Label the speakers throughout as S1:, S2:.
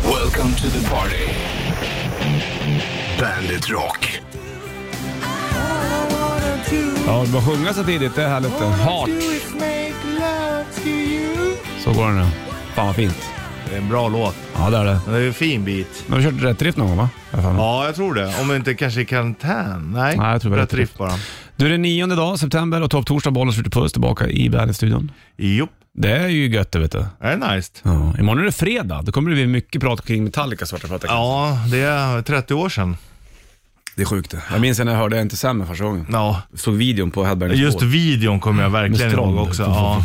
S1: Welcome to the party. Bandit Rock.
S2: Ja, du bara sjunga så tidigt. Det är härligt. Heart. Så går den nu. Fan vad fint.
S3: Det är en bra låt.
S2: Ja, det är det.
S3: Det är en fin bit.
S2: Men du har kört rätt drift någon gång va? Jag fan.
S3: Ja, jag tror det. Om det inte kanske i karantän. Nej,
S2: Nej, jag tror det var
S3: rätt
S2: rätt
S3: riff bara.
S2: Du, det är nionde dag, september och topp torsdag, bollen skjuter puss tillbaka i Bandit-studion.
S3: Jopp,
S2: Det är ju gött det vet du.
S3: det är nice.
S2: Ja. Imorgon är det fredag. Då kommer det bli mycket prat kring Metallica, Svarta Fatta.
S3: Ja, det är 30 år sedan.
S2: Det är sjukt det. Jag minns när jag hörde Enter Sandman första gången.
S3: Ja,
S2: Såg videon på Headbangers
S3: just
S2: Ball.
S3: videon kommer jag verkligen
S2: Med
S3: ihåg
S2: Strand.
S3: också. Ja.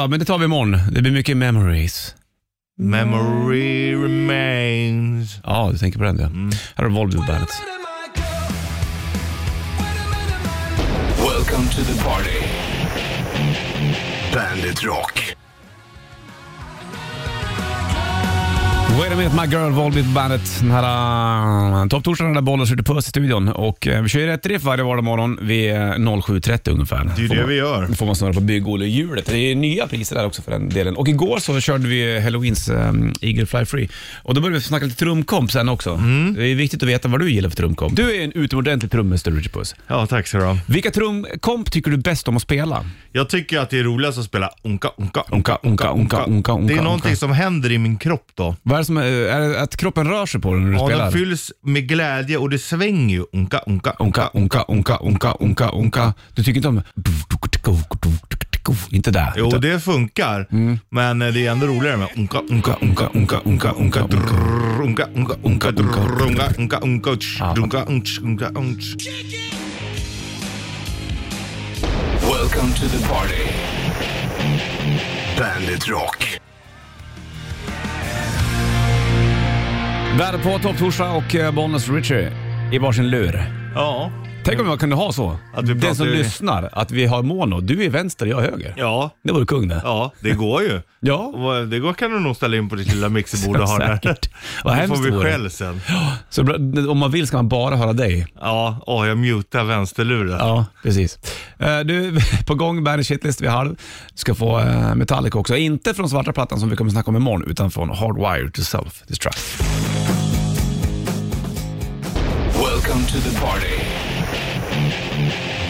S2: Ja, men det tar vi imorgon. Det blir mycket memories.
S3: Memory remains.
S2: Ja, du tänker på den ja. Här har du Volvo Bandet.
S1: Welcome to the party. Bandit Rock.
S2: Wait a minute my girl, Volbeat Bandet. Den här uh, topptorsdagen där bollen skjuter puss i studion. Och eh, vi kör ju rätt riff varje vardagsmorgon vid eh, 07.30 ungefär.
S3: Det är ju
S2: Får
S3: det
S2: man-
S3: vi gör.
S2: Då får man snurra på bygg-Olle-hjulet. Det är nya priser där också för den delen. Och igår så körde vi Halloweens um, Eagle Fly Free. Och då började vi snacka lite trumkomp sen också.
S3: Mm.
S2: Det är viktigt att veta vad du gillar för trumkomp. Du är en utomordentlig trummästare, Richard Puss.
S3: Ja, tack så du ha.
S2: Vilka trumkomp tycker du bäst om att spela?
S3: Jag tycker att det är roligast att spela onka, onka,
S2: Onka, onka, onka, onka, onka,
S3: Det är någonting
S2: onka.
S3: som händer i min kropp då.
S2: Vad är det som är, är det att kroppen rör sig på dig när du
S3: Ja, den
S2: spelar?
S3: fylls med glädje och det svänger ju. Onka, onka,
S2: Onka, onka, onka, onka, onka, onka. Du tycker inte om... Inte där.
S3: Jo,
S2: utan-
S3: det funkar.
S2: Mm.
S3: Men eh, det är ändå roligare med onka, onka, onka, onka, onka, onka, drrrr, onka, onka, onka, drrrr, onka, onka, onka, tsch,
S2: Ja.
S3: onka, ontsch, onka, ontsch.
S1: Welcome to the party. Bandit Rock.
S2: Värd på topp torsdag och eh, Bonus Richie i varsin lur.
S3: Ja,
S2: Tänk om jag kunde ha så.
S3: Att vi pratar
S2: Den som
S3: i-
S2: lyssnar, att vi har mono. Du är vänster, jag är höger.
S3: ja,
S2: Det vore kung det.
S3: ja, det går ju.
S2: Ja,
S3: Och Det går kan du nog ställa in på ditt lilla mixerbord och ha där.
S2: säkert. Vad
S3: Det
S2: hemskt
S3: får
S2: det
S3: vi
S2: vore.
S3: skäll sen.
S2: Så bra- om man vill ska man bara höra dig.
S3: Ja, åh, jag mutar vänsterluren.
S2: Ja, precis. Eh, Du, på gång Bandit Shitlist vid halv. Du ska få eh, Metallica också. Inte från svarta plattan som vi kommer snacka om imorgon, utan från Hardwired to Self Destruct.
S1: Welcome to the party.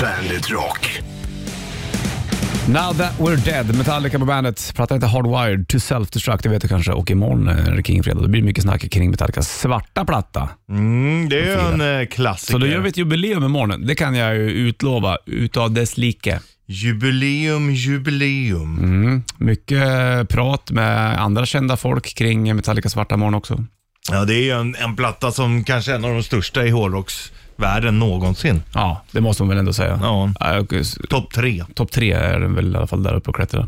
S1: Bandit Rock.
S2: Now that we're dead, Metallica på bandet. Pratar inte Hardwired to Self-Destruct, det vet du kanske. Och imorgon eh, är det King Fredag. Då blir det mycket snack kring Metallicas svarta platta.
S3: Mm, det är ju en eh, klassiker.
S2: Så då gör vi ett jubileum imorgon. Det kan jag ju utlova, utav dess like.
S3: Jubileum, jubileum.
S2: Mm. Mycket eh, prat med andra kända folk kring Metallicas svarta imorgon också.
S3: Ja, det är ju en, en platta som kanske är en av de största i hårdrocksvärlden någonsin.
S2: Ja, det måste man väl ändå säga.
S3: Ja.
S2: Eh, och, eh,
S3: Topp tre.
S2: Topp tre är den väl i alla fall där uppe och klättrar.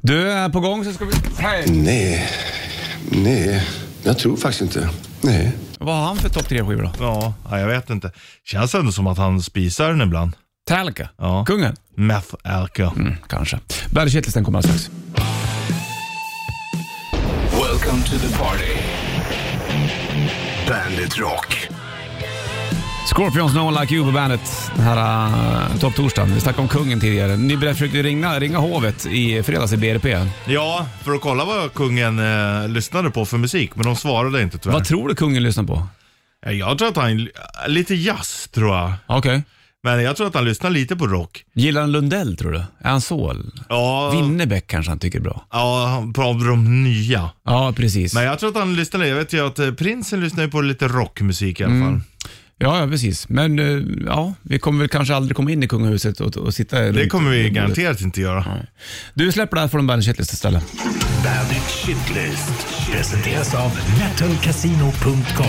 S2: Du, är på gång så ska vi... Hej!
S4: Nej, nej, jag tror faktiskt inte. Nej.
S2: Vad har han för topp tre-skivor då?
S3: Ja, ja, jag vet inte. Känns ändå som att han spisar den ibland.
S2: Metallica?
S3: Ja.
S2: Kungen?
S3: Meth Alka.
S2: Mm, kanske. Bandit Shitlisten kommer alldeles strax.
S1: Welcome to the party. Bandit Rock.
S2: Scorpions No One Like You på bandet den här uh, topptorsdagen. Vi snackade om kungen tidigare. Ni försökte ringa, ringa hovet i fredags i BRP.
S3: Ja, för att kolla vad kungen eh, lyssnade på för musik, men de svarade inte tyvärr.
S2: Vad tror du kungen lyssnar på?
S3: Ja, Jag tror att han, eh, lite jazz tror jag.
S2: Okej.
S3: Men jag tror att han lyssnar lite på rock.
S2: Gillar han Lundell tror du? Är han så?
S3: Ja,
S2: Winnerbäck kanske han tycker är bra.
S3: ja han pratar om de nya.
S2: Ja, precis.
S3: Men jag tror att han lyssnar, jag vet ju att eh, prinsen lyssnar ju på lite rockmusik i alla fall.
S2: Ja, ja, precis. Men eh, ja, vi kommer väl kanske aldrig komma in i kungahuset och, och sitta
S3: Det
S2: runt
S3: kommer vi
S2: bordet.
S3: garanterat inte göra.
S2: Du släpper det här från Bandit Shitlist istället.
S5: Bandit Shitlist presenteras av metalcasino.com.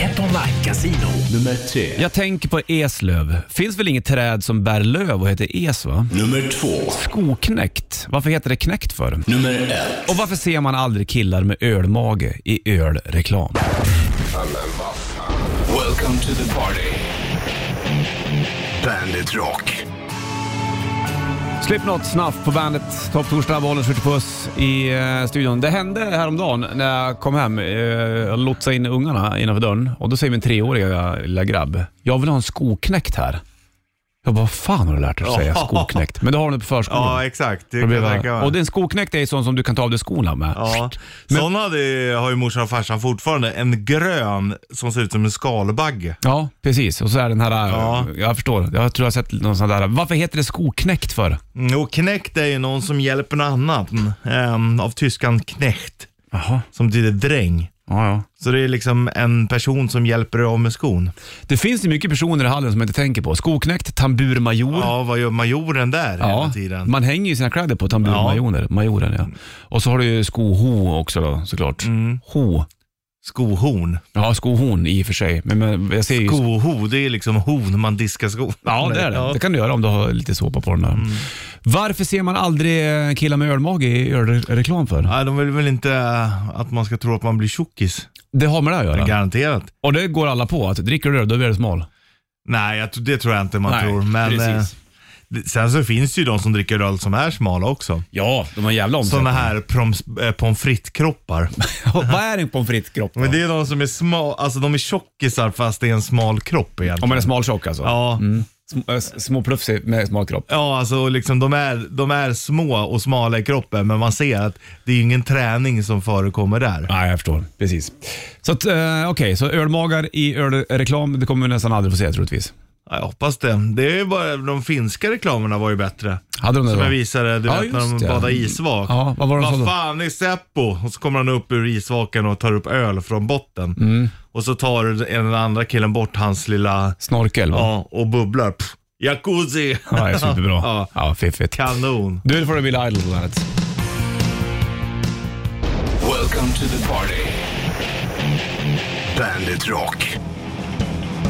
S5: Ett online-casino.
S6: Nummer tre.
S2: Jag tänker på eslöv. Finns väl inget träd som bär löv och heter es, va?
S6: Nummer två.
S2: Skoknäckt. Varför heter det knäckt för?
S6: Nummer ett.
S2: Och varför ser man aldrig killar med ölmage i ölreklam?
S1: Welcome to the party. Bandit Rock.
S2: Slipknot, Snuff på bandet. Topp torsdag, bollen skjuter puss i eh, studion. Det hände häromdagen när jag kom hem. Eh, jag lotsade in ungarna innanför dörren och då säger min treåriga lilla grabb, jag vill ha en skoknäckt här. Jag bara, vad fan har du lärt dig att säga skoknäckt? Men det har du på förskolan.
S3: Ja, exakt. Det
S2: Då
S3: kan
S2: blir
S3: jag
S2: jag
S3: tänka
S2: bara,
S3: mig.
S2: och den skoknäckt är ju sån som du kan ta av dig skorna med.
S3: Ja. Sån hade, har ju morsan och farsan fortfarande. En grön som ser ut som en skalbagge.
S2: Ja, precis. Och så är den här, eh,
S3: Ja.
S2: jag förstår. Jag tror jag har sett någon sån där. Varför heter det skoknäckt för?
S3: Mm, Och knäckt är ju någon som hjälper någon annan. Ehm, av tyskan knecht,
S2: Jaha.
S3: som betyder dräng.
S2: Ja, ja.
S3: Så det är liksom en person som hjälper dig av med skon.
S2: Det finns ju mycket personer i hallen som jag inte tänker på. Skoknäckt, tamburmajor.
S3: Ja, vad gör majoren där hela tiden? Mm.
S2: man hänger ju sina kläder på tamburmajorer. Majoren, ja. Och så har du ju skoho också då, såklart. Ho.
S3: Skohorn.
S2: Ja, skohorn i och för sig. Men, men jag ser ju...
S3: Skoho, det är liksom horn man diskar skon.
S2: Ja, det är det. Det kan du göra om du har lite såpa på den där.
S3: Mm.
S2: Varför ser man aldrig eh, killar med ölmage i ölreklam för?
S3: Nej, de vill väl inte eh, att man ska tro att man blir tjockis.
S2: Det har med det att göra.
S3: Garanterat.
S2: Och det går alla på, att dricker du öl, då blir du smal.
S3: Nej, jag, tr- det tror jag inte man
S2: Nej,
S3: tror. Men eh,
S2: precis.
S3: det- sen så finns det ju de som dricker öl som är smala också.
S2: Ja, de har en jävla omsättning.
S3: Sådana här proms- eh, pommes frites-kroppar.
S2: Vad är en pommes frites-kropp då?
S3: Men det är de som är små, alltså de är tjockisar fast det är en smal kropp
S2: Om
S3: egentligen.
S2: man är smaltjock alltså?
S3: Ja.
S2: Sm- äh, s- Småplufsig med smal kropp.
S3: Ja, alltså liksom de är, de är små och smala i kroppen men man ser att det är ju ingen träning som förekommer där.
S2: Nej, jag förstår. Precis. Så att, eh, okej, så ölmagar i ölreklam, det kommer vi nästan aldrig få se troligtvis.
S3: Ja, jag hoppas det. Det är ju bara, de finska reklamerna var ju bättre.
S2: Hade de det
S3: Som
S2: då?
S3: jag visade, du
S2: Ja,
S3: vet när de
S2: just det.
S3: badade isvak.
S2: Ja, vad var det de sa då?
S3: Vad fan är Seppo? Och så kommer han upp ur isvaken och tar upp öl från botten.
S2: Mm.
S3: Och så tar den- den andra killen bort hans lilla,
S2: Snorkel va?
S3: ja, och bubblar. Pff, jacuzzi!
S2: Ja, det är superbra.
S3: Ja.
S2: ja. fiffigt.
S3: Kanon.
S2: Du, det får du Billy Idol på bandet.
S1: Welcome to the party. Bandit Rock.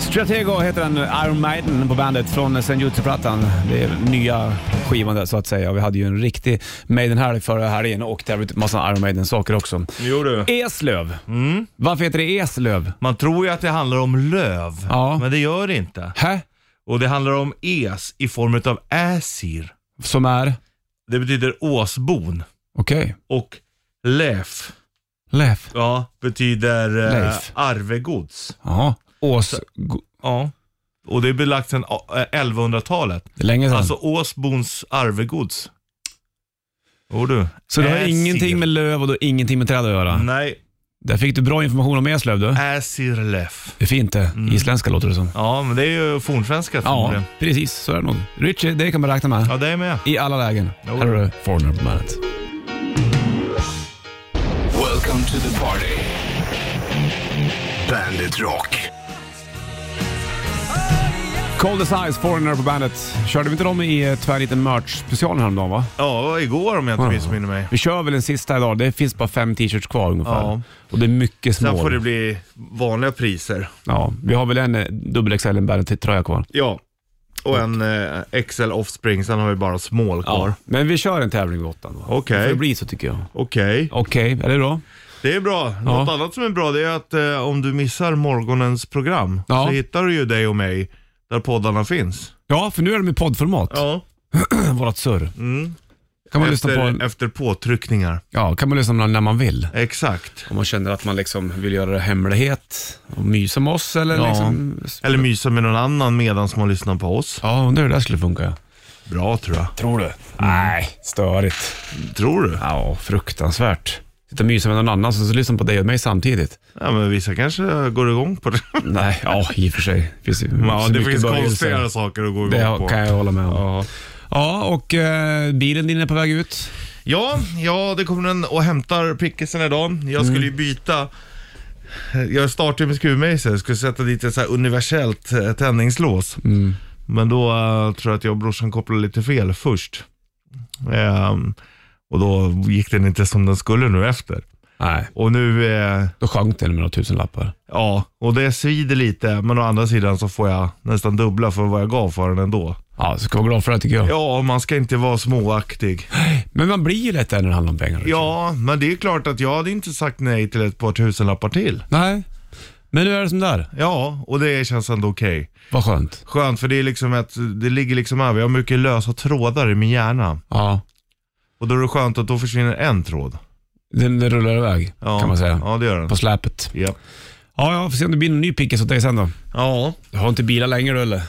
S2: Stratego heter den, eh, Iron Maiden på bandet från St. Jutsu-plattan. Det är nya skivan där så att säga. Vi hade ju en riktig Maiden-helg förra helgen och där var en massa Iron Maiden-saker också.
S3: Jo du.
S2: Eslöv.
S3: Mm.
S2: Varför heter det Eslöv?
S3: Man tror ju att det handlar om löv,
S2: Ja.
S3: men det gör det inte.
S2: Hä?
S3: Och det handlar om es i form av äsir.
S2: Som är?
S3: Det betyder åsbon.
S2: Okej.
S3: Och lef,
S2: Lef.
S3: ja, betyder eh,
S2: Leif.
S3: arvegods.
S2: Ja. Ås... go-
S3: Ja. Och det är belagt sedan eh, 1100-talet.
S2: Det är länge sedan.
S3: Alltså åsbons arvegods. Jo du.
S2: så det har
S3: Äsir.
S2: ingenting med löv och då ingenting med träd att göra.
S3: Nej,
S2: Där fick du bra information om Eslöv du.
S3: äsirlef.
S2: Det är fint det.
S3: Mm.
S2: Isländska låter det som.
S3: Ja, men det är ju fornsvenska
S2: Ja,
S3: förmodligen.
S2: precis. Så är det nog. Richie, det kan man räkna med.
S3: Mm. Ja, det är med.
S2: I alla lägen.
S3: Jo.
S2: Här har du Foreigner på bandet.
S1: Welcome to the party. Bandit Rock.
S2: Cold as Ice, Foreigner på bandet. Körde vi inte dem i eh, tvärniten merch-specialen häromdagen va?
S3: Ja, det var igår om jag inte
S2: Ja.
S3: missminner mig.
S2: Vi kör väl en sista idag. Det finns bara fem t-shirts kvar ungefär.
S3: Ja.
S2: Och det är mycket
S3: Sen
S2: små.
S3: får det bli vanliga priser.
S2: Ja, vi har väl en eh, dubbel XL, en bandet-tröja kvar.
S3: Ja. Och en eh, XL Offspring, sen har vi bara small kvar.
S2: Men vi kör en tävling vid åttan. va?
S3: Okej.
S2: Det får bli så tycker jag.
S3: Okej,
S2: Okej, är det bra?
S3: det är bra. Något annat som är bra det är att eh, om du missar morgonens program
S2: Ja.
S3: så hittar du ju dig och mig där poddarna finns.
S2: Ja, för nu är de i poddformat,
S3: Ja.
S2: vårat surr. Kan man lyssna
S3: Efter,
S2: på en,
S3: efter påtryckningar.
S2: Ja, kan man lyssna på den när man vill.
S3: Exakt.
S2: Om man känner att man liksom vill göra det hemlighet och mysa med oss eller
S3: Ja.
S2: liksom...
S3: Eller mysa med någon annan medan man lyssnar på oss.
S2: Ja, undrar hur det där skulle funka. ja.
S3: Bra tror jag.
S2: Tror du? Nej, störigt.
S3: Tror du?
S2: Ja, fruktansvärt. Sitta och mysa med någon annan så, så lyssnar på dig och mig samtidigt.
S3: Ja, men vissa kanske går igång på det.
S2: Nej, ja i och för sig. Finns ju
S3: Ja,
S2: så
S3: det
S2: mycket
S3: finns
S2: böjelser.
S3: konstigare saker att gå igång
S2: Det
S3: på.
S2: har- kan jag hålla med om. Ja, och eh, bilen din är på väg ut.
S3: Ja, ja, det kommer den och hämtar prickisen idag. Jag skulle ju
S2: Mm.
S3: byta. Jag startade med skruvmejsel, skulle sätta dit ett så här universellt eh, tändningslås.
S2: Mm.
S3: Men då eh, tror jag att jag och brorsan kopplade lite fel först. Ehm, och då gick den inte som den skulle nu efter.
S2: Nej,
S3: Och nu, eh,
S2: då sjönk den med några tusenlappar.
S3: ja, och det svider lite. Men å andra sidan så får jag nästan dubbla för vad jag gav för den ändå.
S2: Ja, så ska vara glad för det tycker jag.
S3: Ja, man ska inte vara småaktig.
S2: Men man blir ju lätt där när det handlar om pengar.
S3: Ja, men det är klart att jag hade inte sagt nej till ett par tusenlappar till.
S2: Nej, men nu är det som där.
S3: Ja, och det känns ändå okej.
S2: Vad skönt.
S3: Skönt, för det är liksom att det ligger liksom över. Jag har mycket lösa trådar i min hjärna.
S2: Ja,
S3: Och då är det skönt att då försvinner en tråd.
S2: den, den rullar iväg
S3: Ja,
S2: kan man säga.
S3: Ja, det gör den.
S2: På släpet.
S3: Ja.
S2: Ja, ja, får se om det blir någon ny pickis åt dig sen då.
S3: ja.
S2: Du har inte bilar längre du eller?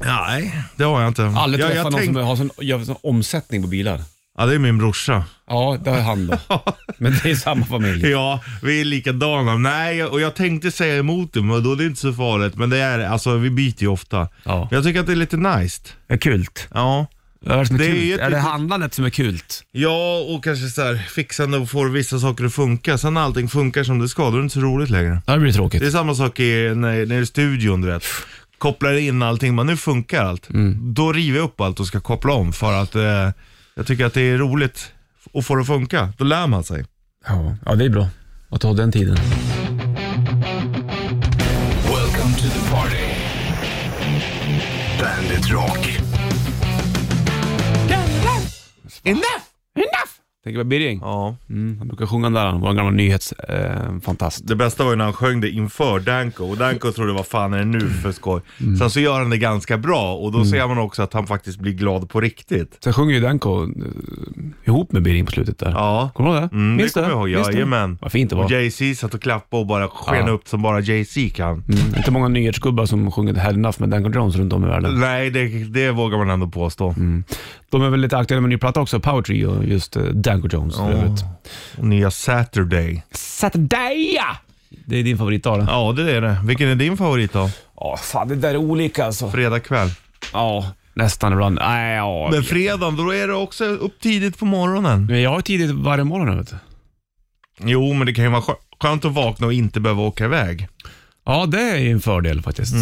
S3: Nej, det har jag inte.
S2: Aldrig
S3: jag,
S2: träffat
S3: jag
S2: någon
S3: tänk-
S2: som har sån, gör sån omsättning på bilar.
S3: Ja, det är min brorsa.
S2: Ja, det har han då. Men det är samma familj.
S3: Ja, vi är likadana. Nej, och jag tänkte säga emot det, men då är det inte så farligt. Men det är alltså, vi byter ju ofta.
S2: Ja.
S3: Jag tycker att det är lite nice.
S2: Ja, kult.
S3: Ja.
S2: Vad är det som är
S3: Det är
S2: kult?
S3: ju
S2: Är,
S3: ett
S2: det
S3: litet-
S2: handlandet som är kult?
S3: Ja, och kanske så här, fixande och får vissa saker att funka. Sen när allting funkar som det ska, då är det inte så roligt längre.
S2: Ja, det blir tråkigt.
S3: Det är samma sak i, när, när i studion, du vet. Kopplar in allting, men nu funkar allt. Då river jag upp allt och ska koppla om för att eh, jag tycker att det är roligt och får det att funka. Då lär man sig.
S2: Ja, ja, det är bra att ta den tiden.
S1: Welcome to the party. Bandit Rock.
S2: Tänker på Birging.
S3: Ja.
S2: Mm, han brukar sjunga den där, han, vår gamla eh, nyhetsfantast.
S3: Det bästa var ju när han sjöng det inför Danko och Danko trodde vad fan är det nu för skoj.
S2: Mm.
S3: Sen så gör han det ganska bra och då ser man också att han faktiskt blir glad på riktigt.
S2: Sen sjunger ju Danko eh, ihop med Birging på slutet där.
S3: Ja.
S2: Kommer du ihåg det?
S3: Mm, det
S2: Minns du
S3: kommer jag ihåg,
S2: Minns du?
S3: jajamän.
S2: Vad fint det var.
S3: Och Jay-Z satt och klappade och bara sken
S2: Ja.
S3: upp som bara Jay-Z kan.
S2: Mm, inte många nyhetsgubbar som sjunger Hell Enough med Danko Jones runt om i världen.
S3: Nej, det, det vågar man ändå påstå.
S2: Mm. De är väl lite aktuella med en ny platta också, Power Trio, just eh, Danko Jones för övrigt.
S3: Och nya Saturday.
S2: Saturday! Det är din favoritdag det?
S3: Ja, det är det. Vilken är din favorit då?
S2: Ja, fan det där är olika alltså.
S3: Fredag kväll.
S2: Ja, nästan ibland. Nej, ja.
S3: Men fredag, då är det också upp tidigt på morgonen.
S2: Men jag har tidigt varje morgon nu, vet du.
S3: Jo, men det kan ju vara skö- skönt att vakna och inte behöva åka iväg.
S2: Ja, det är ju en fördel faktiskt.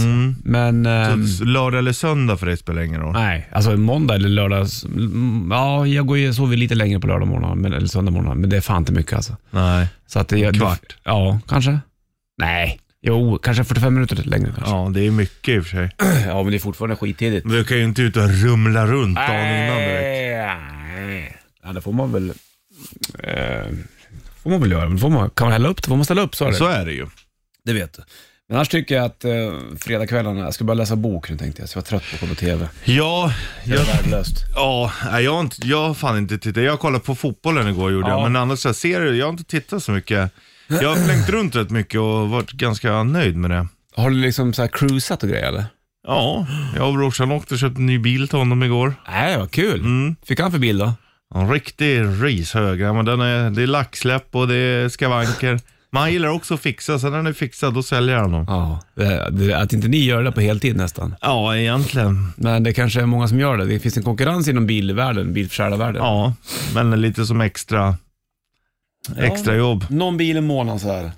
S2: Men...
S3: Mm. Så
S2: ehm,
S3: Lördag eller söndag för dig spelar ingen roll.
S2: Nej, alltså måndag eller lördag. mm, Ja, jag går ju sover lite längre på lördag morgon, men, eller söndag morgon, men det är fan inte mycket alltså.
S3: Nej.
S2: Så att det, jag,
S3: Kvart?
S2: Ja, kanske. Nej, jo, kanske 45 minuter längre kanske.
S3: Ja, det är mycket i och för sig.
S2: Ja, men det är fortfarande skittidigt.
S3: Men du kan ju inte ut och rumla runt dagen innan direkt.
S2: Nej. Ja, det får man väl... Eh, får man väl göra. Men Får man, kan man hälla upp det får man ställa upp, så är det.
S3: Så är det ju.
S2: Det vet du. Men annars tycker jag att eh, fredagskvällarna, jag ska bara läsa bok nu tänkte jag, så jag var trött på att kolla på TV.
S3: Ja,
S2: Det
S3: jag,
S2: är värdelöst.
S3: ja, nej, jag, har inte, jag har fan inte tittat. Jag kollade på fotbollen igår gjorde
S2: Ja.
S3: jag, men annars så här, serier, jag har inte tittat så mycket. Jag har flängt runt rätt mycket och varit ganska nöjd med det.
S2: Har du liksom så här cruisat och grejer eller?
S3: Ja, jag och brorsan åkte och köpte en ny bil till honom igår.
S2: Nej, vad kul. Fick han för bil då?
S3: En riktig rishög. Ja, men den är, det är lacksläpp och det är skavanker. Men han gillar också att fixa, sen när den är fixad då säljer han dem.
S2: Ja. Det- det- Att inte ni gör det på heltid nästan.
S3: Ja, egentligen.
S2: Men det kanske är många som gör det. Det finns en konkurrens inom bilvärlden, bilförsäljarvärlden.
S3: Ja, men lite som extra, extra jobb.
S2: Någon bil i månaden så här.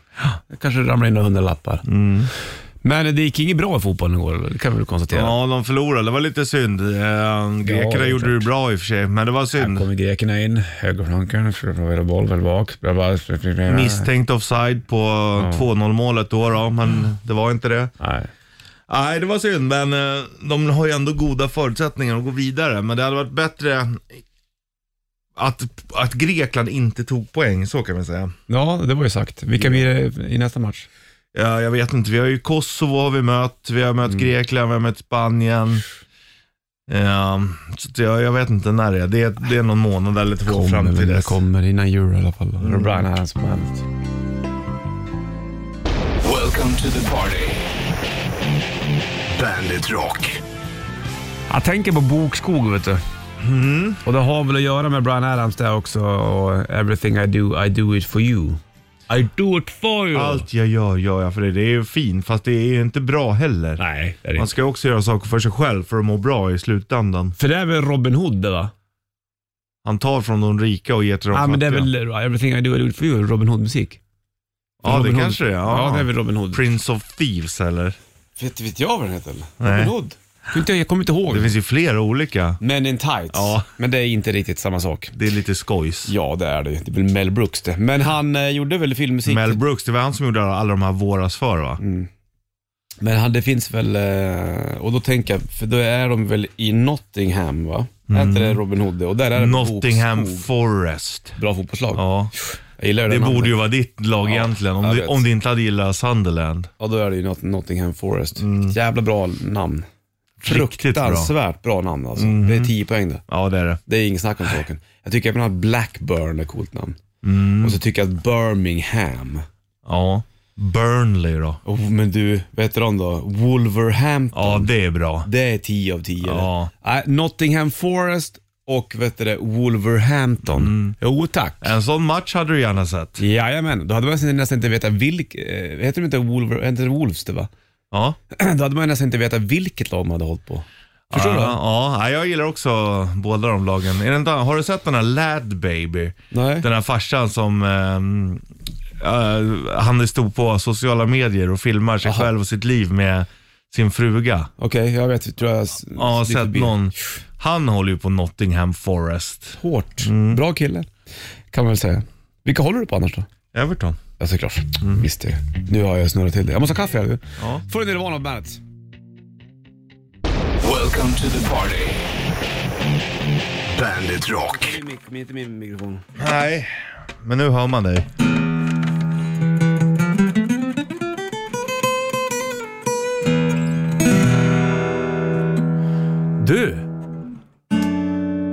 S2: Det kanske ramlar in några hundralappar. Men det gick inget bra i fotbollen igår, det kan vi väl konstatera.
S3: Ja, de förlorade. Det var lite synd. Eh,
S2: Ja,
S3: Grekerna
S2: det är
S3: gjorde
S2: klart.
S3: det bra i och för sig, men det var
S2: Här
S3: synd.
S2: kommer grekerna in, högerflanken, förlorar boll väl bak. Bla, bla, bla, bla, bla.
S3: Misstänkt offside på 2-0 målet då, då, men det var inte det.
S2: Nej.
S3: Nej, det var synd, men eh, de har ju ändå goda förutsättningar att gå vidare. Men det hade varit bättre att, att Grekland inte tog poäng, så kan man säga.
S2: Ja, det var ju sagt. Vilka blir det i nästa match?
S3: Ja, jag vet inte, vi har ju Kosovo har vi mött, vi har mött
S2: Mm.
S3: Grekland, vi har mött Spanien. Ja, så att jag, jag vet inte när det är. Det är, det är någon månad eller två fram till
S2: väl, det
S3: dess.
S2: kommer innan euro i alla fall. Det är bra nära som helst.
S1: Welcome to the party. Bandit Rock.
S2: Jag tänker på bokskog, vet du. Och det har väl att göra med Brian Adams där också. Och everything I do, I do it for you. I do it for you.
S3: Allt jag gör, gör jag för dig. Det är ju fint, fast det är ju inte bra heller.
S2: Nej, det är det
S3: Man
S2: inte.
S3: ska ju också göra saker för sig själv för att må bra i slutändan.
S2: För det är väl Robin Hood det va?
S3: Han tar från de rika och ger till de
S2: Ja,
S3: fattiga.
S2: men det är väl uh, Everything I do, I do it for you, Robin Hood-musik.
S3: ja,
S2: Robin
S3: det
S2: Hood.
S3: kanske det är.
S2: Ja.
S3: Ja.
S2: det är väl Robin Hood.
S3: Prince of Thieves eller?
S2: Vet, vet jag vad den heter? Robin
S3: Nej.
S2: Hood? Kunde inte- Jag kommer inte ihåg.
S3: Det finns ju flera olika.
S2: Men in tights.
S3: Ja.
S2: Men det är inte riktigt samma sak.
S3: Det är lite skojs.
S2: Ja, det är det ju. Det är väl Mel Brooks det. Men han eh, gjorde väl filmmusik.
S3: Mel Brooks, det var han som gjorde alla de här Våras för va?
S2: Men han, det finns väl, eh, och då tänker jag, för då är de väl i Nottingham va? Är inte det Robin Hood det? Och där är det
S3: Mm. Nottingham
S2: bokskog.
S3: Forest.
S2: Bra fotbollslag.
S3: Ja,
S2: Jag gillar ju
S3: det
S2: den
S3: borde
S2: namnet.
S3: ju vara ditt lag
S2: Ja,
S3: egentligen. Om
S2: jag
S3: du,
S2: vet.
S3: om du inte hade gillat Sunderland.
S2: Ja, då är det ju Not- Nottingham Forest. Jävla bra namn.
S3: Mm. Riktigt bra. Mm.
S2: Fruktansvärt bra namn alltså. Det är 10 poäng det.
S3: Ja, det är det.
S2: Det är inget snack om saken. Jag tycker
S3: Mm.
S2: även att Blackburn är ett coolt namn. Och så tycker jag att Birmingham.
S3: Ja. Burnley då?
S2: Oh, men du, vad heter de då? Wolverhampton.
S3: Ja, det är bra.
S2: Det är 10 av 10.
S3: Ja.
S2: Nej, Nottingham Forest och vet du det, Wolverhampton.
S3: Mm.
S2: Jo tack.
S3: En sån match hade du gärna sett.
S2: Jajamän, då hade man nästan inte vetat vilk... eh, Heter de inte Wolver... Heter det Wolves det va?
S3: Ja.
S2: Då hade man nästan inte vetat vilket lag man hade hållit på. Förstår
S3: ja,
S2: du?
S3: Ja, ja, jag gillar också båda de lagen. Är det inte, har du sett den här Lad Baby?
S2: Nej.
S3: Den här farsan som ehm, eh, han stod på sociala medier och filmar sig själv och sitt liv med sin fruga.
S2: Okej, jag vet. Tror jag s-
S3: Ja,
S2: gick
S3: sett
S2: förbi.
S3: någon. Han håller ju på Nottingham Forest.
S2: Hårt.
S3: Mm.
S2: Bra kille, kan man väl säga. Vilka håller du på annars då?
S3: Everton.
S2: Ja, såklart. Visst det. Nu har jag snurrat till det. Jag måste ha kaffe. Jag.
S3: Mm. Ja.
S2: Får du Nirvana på bandet?
S1: Welcome to the party. Bandit Rock.
S2: Inte min mikrofon.
S3: Nej, men nu hör man dig.
S2: Du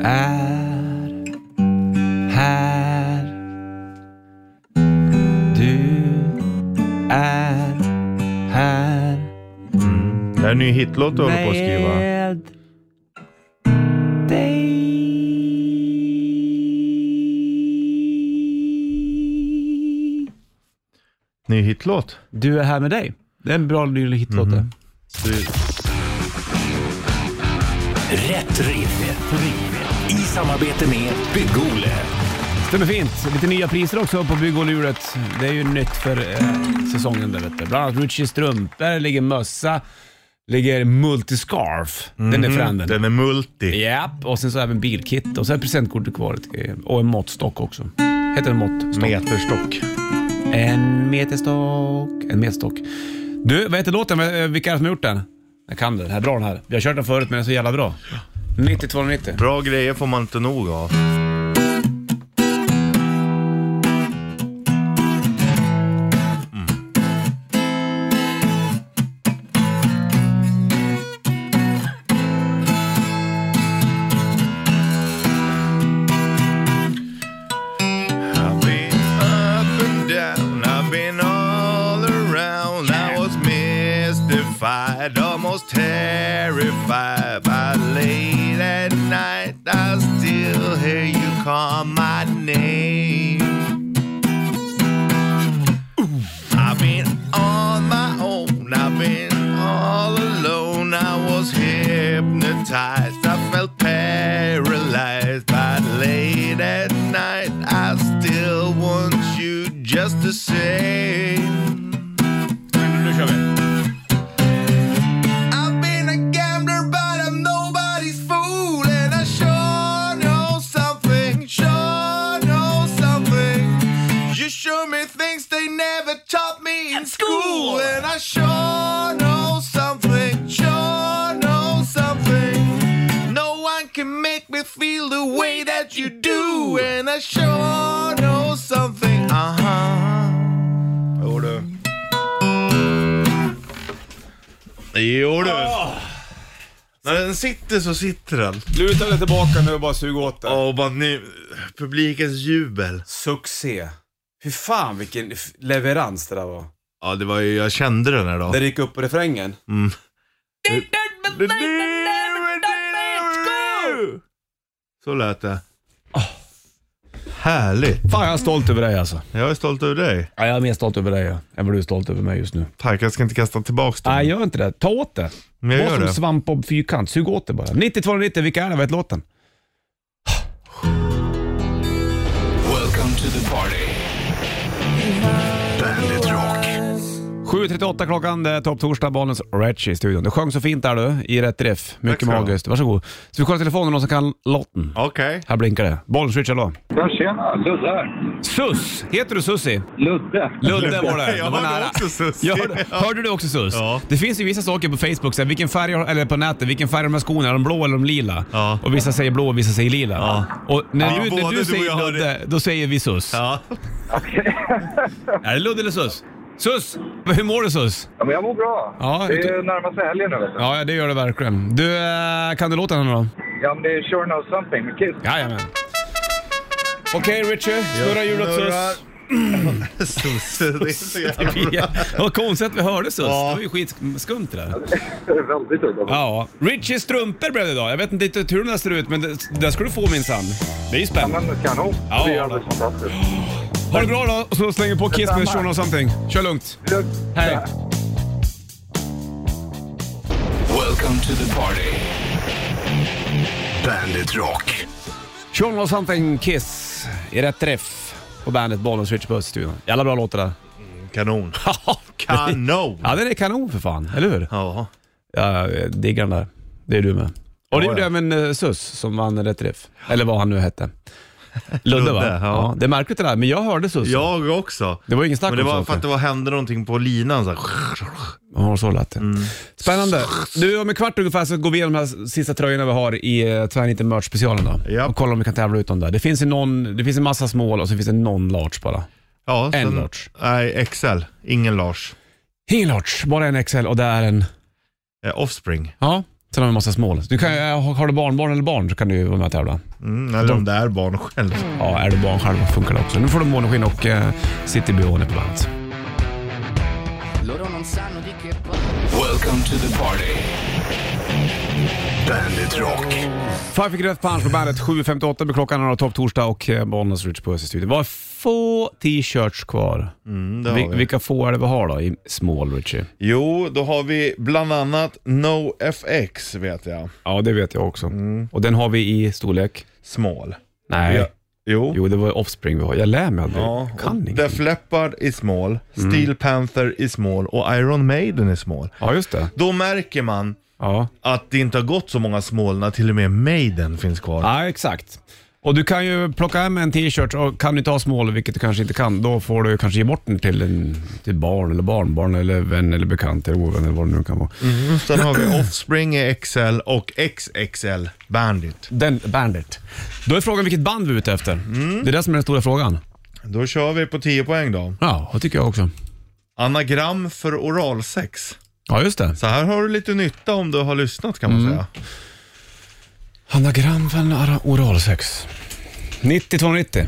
S2: är här. Du är här.
S3: Det här är en ny hitlåt du håller på att skriva.
S2: Med dig.
S3: Ny hitlåt.
S2: Du är här med dig. Det är en bra ny hitlåt det.
S3: Du-
S5: Rätt riff. Rätt riff. I samarbete med Bygg-Ole.
S2: Stämmer fint. Lite nya priser också på Bygg och Luret. Det är ju nytt för eh, säsongen där vet du. Bland annat Ruchie strumpor, ligger mössa, ligger multiscarf. Den är för handen.
S3: Mm. Den är multi.
S2: Japp, och sen så även bilkit och så är presentkortet kvar. eh, Och en måttstock också. Heter den måttstock?
S3: Meterstock.
S2: En meterstock. En meterstock. Du, vad heter låten? Eh, Vilka är det som har gjort den? Jag kan den. Den är bra den här. Vi har kört den förut men den är så jävla bra. 9290.
S3: Bra grejer får man inte nog av. I've been up and down, I've been all around. I was mystified, almost terrified. By late at night, I still hear you call my name. I've been on my own, I've been all alone. I was hypnotized, I felt paralyzed. But late at night, I still want you just the same.
S2: Nu kör vi.
S3: I've been a gambler, but I'm nobody's fool, and I sure know something, sure know something. You show me things they never taught me in school, and I sure know something, sure know something. No one can make me feel the way that you do, and I sure know something. Uh huh. Order. Jo du. Ah. När den sitter så sitter den.
S2: Luta dig tillbaka nu och bara sug åt
S3: Åh, bara nu. Publikens jubel.
S2: Succé. Fy fan vilken f- leverans det där var.
S3: Ja, det var ju, jag kände den här då.
S2: Det gick upp på refrängen.
S3: Så lät det. Härligt.
S2: Fan jag är stolt över dig alltså.
S3: Jag är stolt över dig.
S2: Ja, jag är mer stolt över dig ja, än vad du är stolt över mig just nu.
S3: Tack, jag ska inte kasta tillbaks den.
S2: Nej, gör inte det. Ta åt det.
S3: Men jag
S2: Var
S3: gör
S2: som
S3: det.
S2: svampbob fyrkant. Sug åt det bara. 9290, vilka är det? Vad heter låten?
S1: Welcome to the party. Bandit Rock.
S2: 7.38 klockan, det är topp torsdag, Bollnäs Ratchy i studion. Du sjöng så fint där du, i rätt riff. Mycket
S3: Tack ska du ha.
S2: magiskt. Varsågod. Så vi kollar telefonen, någon som kan låten.
S3: Okej.
S2: Här blinkar det. Bollnäs Ritch, hallå.
S7: Ja, tjena. Ludde här.
S2: Sus! Heter du Sussi?
S7: Ludde.
S2: Ludde var det.
S3: Jag
S2: det var
S3: hörde
S2: nära.
S3: också Sussi.
S2: Jag hörde, hörde du också Sus?
S3: Ja.
S2: Det finns ju vissa saker på Facebook, så här, vilken färg har, eller på nätet, vilken färg har de här skorna? Är de blå eller de lila?
S3: Ja.
S2: Och vissa säger blå och vissa säger lila.
S3: Ja.
S2: Och när
S3: Ja,
S2: du,
S3: både
S2: när
S3: du
S2: du
S3: och jag
S2: säger
S3: hörde.
S2: Ludde, då säger vi Sus.
S3: Ja.
S2: Är det Ludde eller Sus? Sus! Hur mår du Sus?
S7: Ja, men jag mår bra.
S2: Ja,
S7: det
S2: vet
S7: är närmar sig helgen nu. Vet du. Ja.
S2: Ja, ja, det gör det verkligen. Du, eh, kan du låten nu då?
S7: men det är Sure Know Something med Kiss.
S2: Jajamän. Okej Richard, snurra hjulet
S3: snurrar.
S2: Sus.
S3: Sosse, det är så jävla bra.
S2: Vad konstigt att vi hörde så.
S3: Ja.
S2: Det var ju skitskumt det där.
S7: Väldigt udda.
S2: Ja. Richies strumpor blev det idag. Jag vet inte riktigt hur den där ser ut, men det, den ska du få minsann. Det är ju spännande.
S7: Men kanon.
S2: Ja,
S7: det
S2: ja,
S7: är alldeles
S2: då.
S7: fantastiskt.
S2: Ha det bra då, och så slänger vi på Kiss med Sean och something. Kör lugnt. Hej.
S1: Welcome to the party. Bandit Rock.
S2: Sean och something Kiss i rätt träff på bandet Bollnäs Switch på Öststudion. Jävla bra låtar där.
S3: Kanon. Kanon!
S2: Ja, den är kanon för fan, eller hur?
S3: Ja.
S2: Ja, jag diggar den där. Det är du med. Och det
S3: Ja,
S2: gjorde
S3: ja.
S2: även eh, Sus som vann Rätt Riff. Eller vad han nu hette. Ludde va?
S3: Ludde, ja.
S2: Det är märkligt det där, men jag hörde Sus.
S3: Jag också.
S2: Det var ju ingen snack
S3: Men det
S2: om
S3: var
S2: saker.
S3: för att det var, hände någonting på linan. Så här.
S2: Ja, så lät det. Spännande. Du, om en kvart ungefär så går vi igenom de här sista tröjorna vi har i eh, Tvärniten Merch-specialen då.
S3: Ja.
S2: Och kollar om vi kan tävla ut dem där. Det finns, ju någon, det finns en massa small och så finns det någon large bara.
S3: Ja,
S2: En
S3: sen-
S2: Lars.
S3: Nej, XL. Ingen Lars.
S2: Ingen large, bara en XL och det är en...
S3: Eh, offspring.
S2: Ja, sen har vi en massa small. Du kan, ju- eh, har du barnbarn eller barn så kan du ju vara med och tävla.
S3: Mm, eller om det är barn själv.
S2: Ja, är du barn själv funkar det också. Nu får du Måneskinn och eh, City Bione på bandet.
S1: Welcome to the party. Bandit Rock.
S2: Five Finger Death Punch på bandet 7.58 blir klockan och topp torsdag och eh, Bollnäs Rich på studion. Vi har få t-shirts kvar.
S3: Mm, det har
S2: Vi,
S3: vi.
S2: vilka få är det vi har då i small Richie?
S3: Jo, då har vi bland annat NoFX vet jag.
S2: Ja, det vet jag också.
S3: Mm.
S2: Och den har vi i storlek?
S3: Small.
S2: Nej.
S3: Ja. Jo.
S2: Jo, det var Offspring vi har. Jag lär mig aldrig.
S3: Ja, och
S2: kan inte.
S3: Def Leppard i small, Steel Panther i small och Iron Maiden i small.
S2: Ja, just det.
S3: Då märker man
S2: Ja.
S3: att det inte har gått så många small när till och med Maiden finns kvar.
S2: ja, exakt. Och du kan ju plocka hem en t-shirt och kan du inte ha small, vilket du kanske inte kan, då får du kanske ge bort den till, en, till barn eller barnbarn eller vän eller bekant eller ovän eller vad det nu kan vara.
S3: Sen har vi Offspring i XL och XXL Bandit.
S2: Den Bandit. Då är frågan vilket band vi är ute efter.
S3: Mm.
S2: Det är det som är den stora frågan.
S3: Då kör vi på 10 poäng då.
S2: Ja, det tycker jag också.
S3: Anagram för oralsex.
S2: Ja, just det.
S3: Så här har du lite nytta om du har lyssnat kan man säga.
S2: Anagram för en ara- oralsex. 90-290.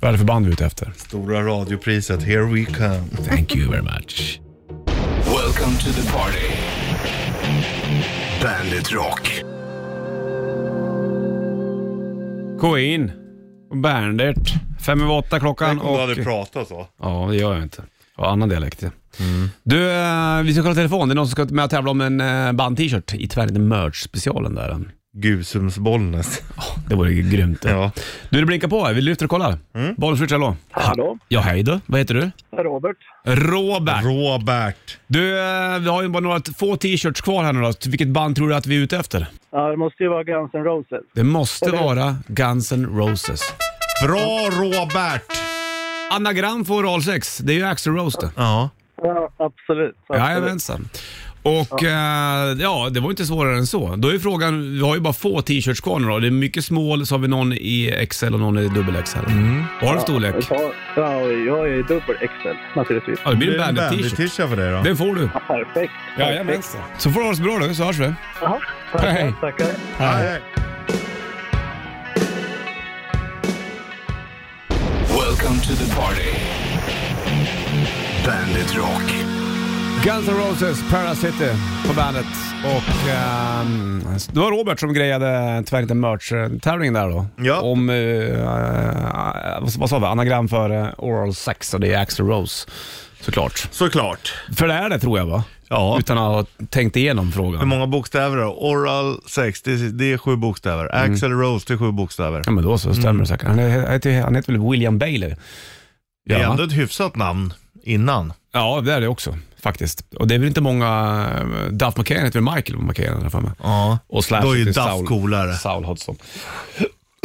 S2: Vad är det för band vi är ute efter?
S3: Stora radiopriset, here we come.
S2: Thank you very much.
S1: Welcome to the party. Bandit Rock.
S2: Queen, Bandit. Fem över åtta klockan
S3: Tänk om
S2: och...
S3: du hade pratat så.
S2: Ja, det gör jag inte. Jag har annan dialekt. ja. Du, eh, vi ska kolla telefon. Det är någon som ska med och tävla om en eh, band-t-shirt i Tvärnit Merch-specialen där.
S3: Gusums Bollnäs.
S2: Det vore ju grymt. det.
S3: Ja.
S2: Du, det blinkar på här. Vi lyfter och kollar. Mm. Bollenswitch, hallå.
S8: Hallå,
S2: Ja, hej du. Vad heter du?
S8: Robert.
S2: Robert.
S3: Robert.
S2: Du, eh, vi har ju bara några t- få t-shirts kvar här nu då. Vilket band tror du att vi är ute efter?
S8: Ja, det måste ju vara Guns N' Roses.
S2: Det måste vara Guns N' Roses.
S3: Bra Robert!
S2: Anagram för oralsex, det är ju Axl Rose det.
S3: Ja.
S8: Ja, absolut. absolut.
S2: Jajamensan. Och eh, ja, det var inte svårare än så. Då är frågan, vi har ju bara få t-shirts kvar nu då. Det är mycket small, så har vi någon i XL och någon i dubbel XL. Vad har du för storlek?
S8: Ja, ja, jag är dubbel XL naturligtvis.
S2: Ja, det
S3: Det
S2: blir
S3: är en
S2: en
S3: bandit-t-shirt
S2: bandit-t-shirt.
S3: för dig då.
S2: Den får du.
S8: Perfekt.
S2: Jajamensan. Så får du ha det så bra då, så hörs vi.
S8: Jaha, tackar,
S2: Hej.
S8: tackar.
S3: Nej.
S1: Welcome to the party. Bandit Rock.
S2: Guns N' Roses, Parasite på bandet. Och ehm, det var Robert som grejade tyvärr inte merch-tävlingen där då.
S3: Ja.
S2: Om, eh, vad, vad sa vi, anagram för eh, oral sex och det är Axl Rose. Såklart.
S3: Såklart.
S2: För det är det tror jag va?
S3: Ja.
S2: Utan att ha tänkt igenom
S3: Hur
S2: frågan.
S3: många bokstäver då? Oral sex, det är, det är sju bokstäver. Axel Rose, det är sju bokstäver.
S2: Ja men då så, stämmer
S3: Mm.
S2: det säkert. Han, är- han heter, han heter väl William Bailey?
S3: Det är
S2: Ja.
S3: ändå ett hyfsat namn innan.
S2: ja, det är det också faktiskt. Och det är väl inte många, eh, Duff McKagan heter väl Michael McKagan i alla fall.
S3: Ja.
S2: Och Slash
S3: Då är ju
S2: heter
S3: Duff
S2: Saul.
S3: coolare.
S2: Saul Hodgson.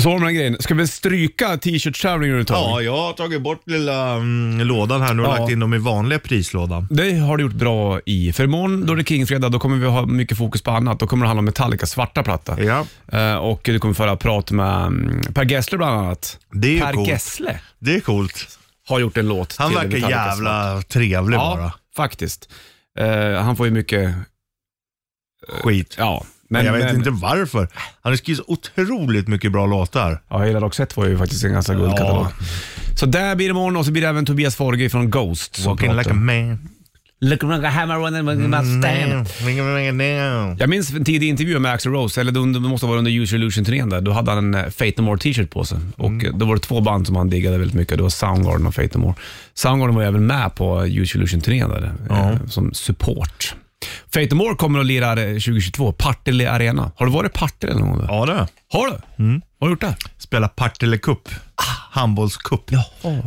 S2: Så har man den grejen. Ska vi stryka t-shirt-tävlingen ur ett tag?
S3: Ja, jag har tagit bort lilla mm, lådan här nu och
S2: Ja.
S3: lagt in dem i vanliga prislådan.
S2: Det har du gjort bra i. För imorgon då är det Kingfredag, då kommer vi ha mycket fokus på annat. Då kommer det handla om Metallicas svarta platta.
S3: Ja.
S2: Eh, och du kommer föra prat med mm, Per Gessle bland annat.
S3: Det är ju
S2: per
S3: coolt.
S2: Gessle
S3: Det är coolt.
S2: har gjort en låt
S3: Han
S2: till
S3: verkar
S2: Metallicas svarta.
S3: jävla trevlig bara.
S2: Ja, faktiskt. Eh, han får ju mycket,
S3: Skit.
S2: ja.
S3: Men, jag vet
S2: men-
S3: inte varför. Han har skrivit så otroligt mycket bra låtar.
S2: Ja, hela Roxette var ju faktiskt en ganska guldkatalog. Så där blir det imorgon och så blir det även Tobias Forge från Ghost som
S3: Walking
S2: pratar.
S3: like a man. Mm.
S2: Looking like a hammer on a mustang. Jag minns en tidig intervju med Axl Rose, eller det måste ha varit under Use Your Illusion-turnén där. Då hade han en eh, Fate No More t-shirt på sig. Och eh, då var det två band som han diggade väldigt mycket. Det var Soundgarden och Fate No More. Soundgarden var ju även med på Use Your Illusion-turnén där, eh, som support. Fate No More kommer och lirar eh, 2022, Partille Arena. Har du varit i Partille någon gång?
S3: Ja du.
S2: Har du? Vad har du gjort där?
S3: Spela Partille Cup. Handbollscup.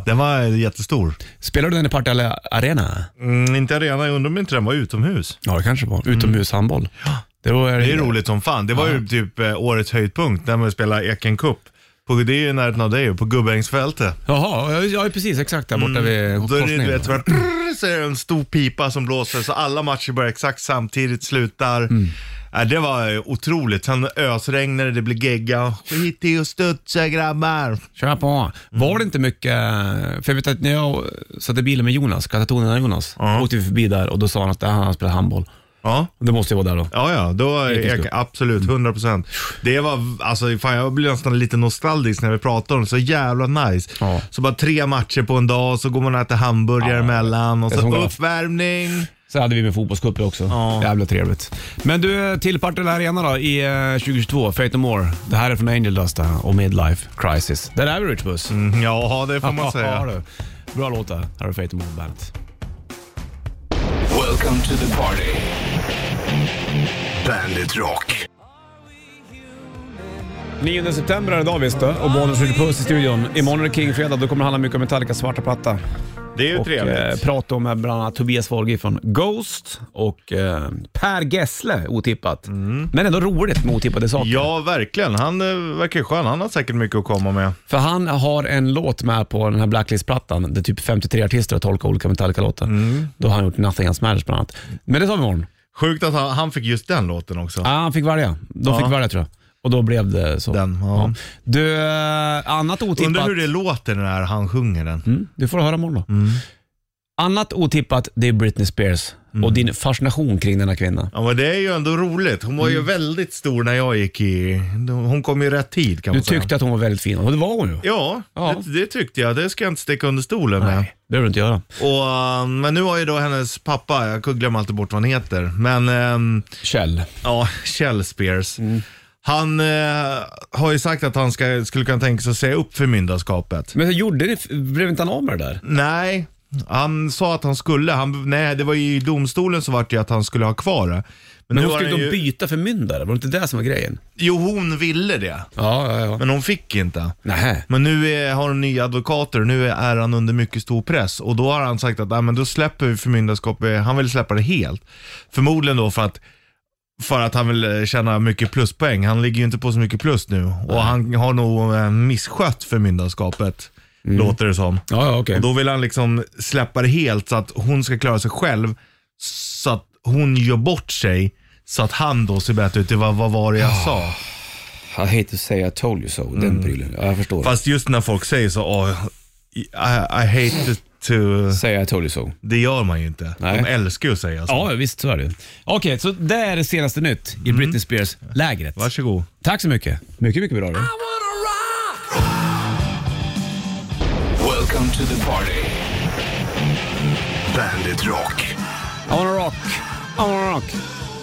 S3: Den var jättestor.
S2: Spelar du den i Partille Arena?
S3: Mm, inte arena, jag undrar om inte den var utomhus.
S2: Ja, det kanske var. Utomhushandboll. Det, var,
S3: Mm. Det är roligt som fan. Det var ju typ eh, årets höjdpunkt när man spelade Eken Cup. På, det är ju i närheten av dig, på Gubbängsfältet.
S2: Jaha, ja, ja precis. Exakt där borta vid
S3: Mm. Då är det,
S2: korsningen.
S3: du vet, så, här, trrr, så är det en stor pipa som blåser så alla matcher börjar exakt samtidigt, slutar.
S2: Mm.
S3: Ja, det var eh, otroligt. Sen ösregnade, det blev gegga. Skit i att studsa grabbar.
S2: Kör på.
S3: Mm.
S2: Var det inte mycket, för jag vet att när jag satt i bilen med Jonas, katatonerna Jonas,
S3: Ja.
S2: åkte vi förbi där och då sa han att han hade spelat handboll.
S3: Ja.
S2: Och Det måste ju vara där då.
S3: Ja, ja, då är
S2: Eken
S3: Eken,
S2: Cup.
S3: absolut,
S2: Mm.
S3: 100 procent. Det var, alltså fan jag blir nästan lite nostalgisk när vi pratar om det, så jävla nice.
S2: Ja.
S3: Så bara tre matcher på en dag, så går man och äter hamburgare emellan och
S2: Det är som
S3: så
S2: galet.
S3: uppvärmning.
S2: Så hade vi med fotbollscuper också.
S3: Ja.
S2: Jävla trevligt. Men du, till Partille Arena då i eh, 2022, Fate No More. Det här är från Angel Dust det här, och Midlife Crisis. Där är vi Rich Buss.
S3: Mm, ja, det får man
S2: Ja,
S3: säga.
S2: du. Bra låt där. Här har du Fate No More Bandet.
S1: Welcome to the party. Bandit Rock.
S2: 9 september är det idag visst du. och Bonus Rich Puss i studion. Imorgon är det King-fredag, då kommer det handla mycket om Metallicas svarta platta.
S3: Det är ju
S2: och eh,
S3: trevligt.
S2: prata om bland annat Tobias Forge från Ghost och eh, Per Gessle, otippat. Men ändå roligt med otippade saker.
S3: Mm. Ja, verkligen. Han eh, verkar ju skön. Han har säkert mycket att komma med.
S2: För han har en låt med på den här Blacklist-plattan där typ 53 artister har tolkat olika Metallica-låtar.
S3: Mm.
S2: Då har han gjort Nothing Else Matters bland annat. Men det tar vi imorgon.
S3: Sjukt att han, han fick just den låten också.
S2: Ja, han fick välja. De fick välja tror jag. Och då blev det så.
S3: Den, ja.
S2: Du, eh, annat otippat.
S3: Undrar hur det låter när han sjunger den.
S2: Mm, det får du höra imorgon då. Annat otippat, det är Britney Spears och din fascination kring denna kvinna.
S3: Ja, men det är ju ändå roligt. Hon var
S2: Mm.
S3: ju väldigt stor när jag gick i... Hon kom i rätt tid kan
S2: Du
S3: man säga.
S2: tyckte att hon var väldigt fin och det var hon ju.
S3: Ja,
S2: Ja.
S3: Det, det tyckte jag. Det ska jag inte sticka under stolen med.
S2: Nej, det behöver du inte göra.
S3: Och, eh, men nu har ju då hennes pappa, jag glömmer alltid bort vad han heter, men ehm,
S2: Kjell.
S3: ja, Kjell Spears.
S2: Mm.
S3: Han eh, har ju sagt att han ska, skulle kunna tänka sig att säga upp förmyndarskapet.
S2: Men hur gjorde ni, blev inte han av med det där?
S3: Nej, han sa att han skulle. Han, nej, det var ju i domstolen så vart det ju att han skulle ha kvar det. Men,
S2: Men
S3: nu
S2: hon
S3: har
S2: skulle
S3: han
S2: ju då
S3: ju,
S2: byta förmyndare, var det inte det som var grejen?
S3: Jo, hon ville det,
S2: Ja, ja, ja.
S3: men hon fick inte.
S2: Nähä.
S3: Men nu är, har de nya advokater och nu är han under mycket stor press. Och då har han sagt att "Nej, men då släpper vi förmyndarskapet, han vill släppa det helt. Förmodligen då för att, för att han vill eh, tjäna mycket pluspoäng. Han ligger ju inte på så mycket plus nu. Och han har nog eh, misskött förmyndarskapet,
S2: Mm.
S3: låter det som.
S2: Ja, ja, okej.
S3: Och då vill han liksom släppa det helt så att hon ska klara sig själv. Så att hon gör bort sig. Så att han då ser bättre ut. Det var, vad var det jag sa?
S2: Ah. I hate to say I told you so, den prylen. Ja, jag förstår.
S3: Fast just när folk säger så, "Åh, I, I hate to...
S2: Säga I told you so.
S3: Det gör man ju inte.
S2: Nej.
S3: De älskar ju att säga så.
S2: Ja, visst så är det. Okej, så det är det senaste nytt i Britney Spears-lägret.
S3: Varsågod.
S2: Tack så mycket. Mycket, mycket bra du.
S1: Welcome to the party. Bandit Rock.
S2: I wanna rock. I wanna rock.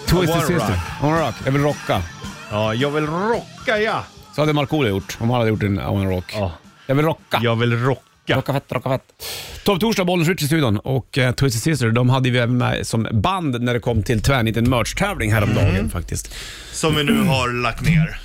S2: Twisted
S3: wanna
S2: Sister.
S3: rock.
S2: I wanna rock. Jag vill rocka.
S3: Ja, jag vill rocka ja.
S2: Så hade Markoolio gjort om han hade gjort en I wanna rock.
S3: Ja.
S2: Jag vill rocka.
S3: Jag vill rocka.
S2: Rocka fett, rocka fett. Topp Torsdag, Bollnäs Rich i studion och eh, Twisted Sister, de hade vi även med som band när det kom till tvärniten merch-tävling häromdagen faktiskt.
S3: Som vi nu har lagt ner.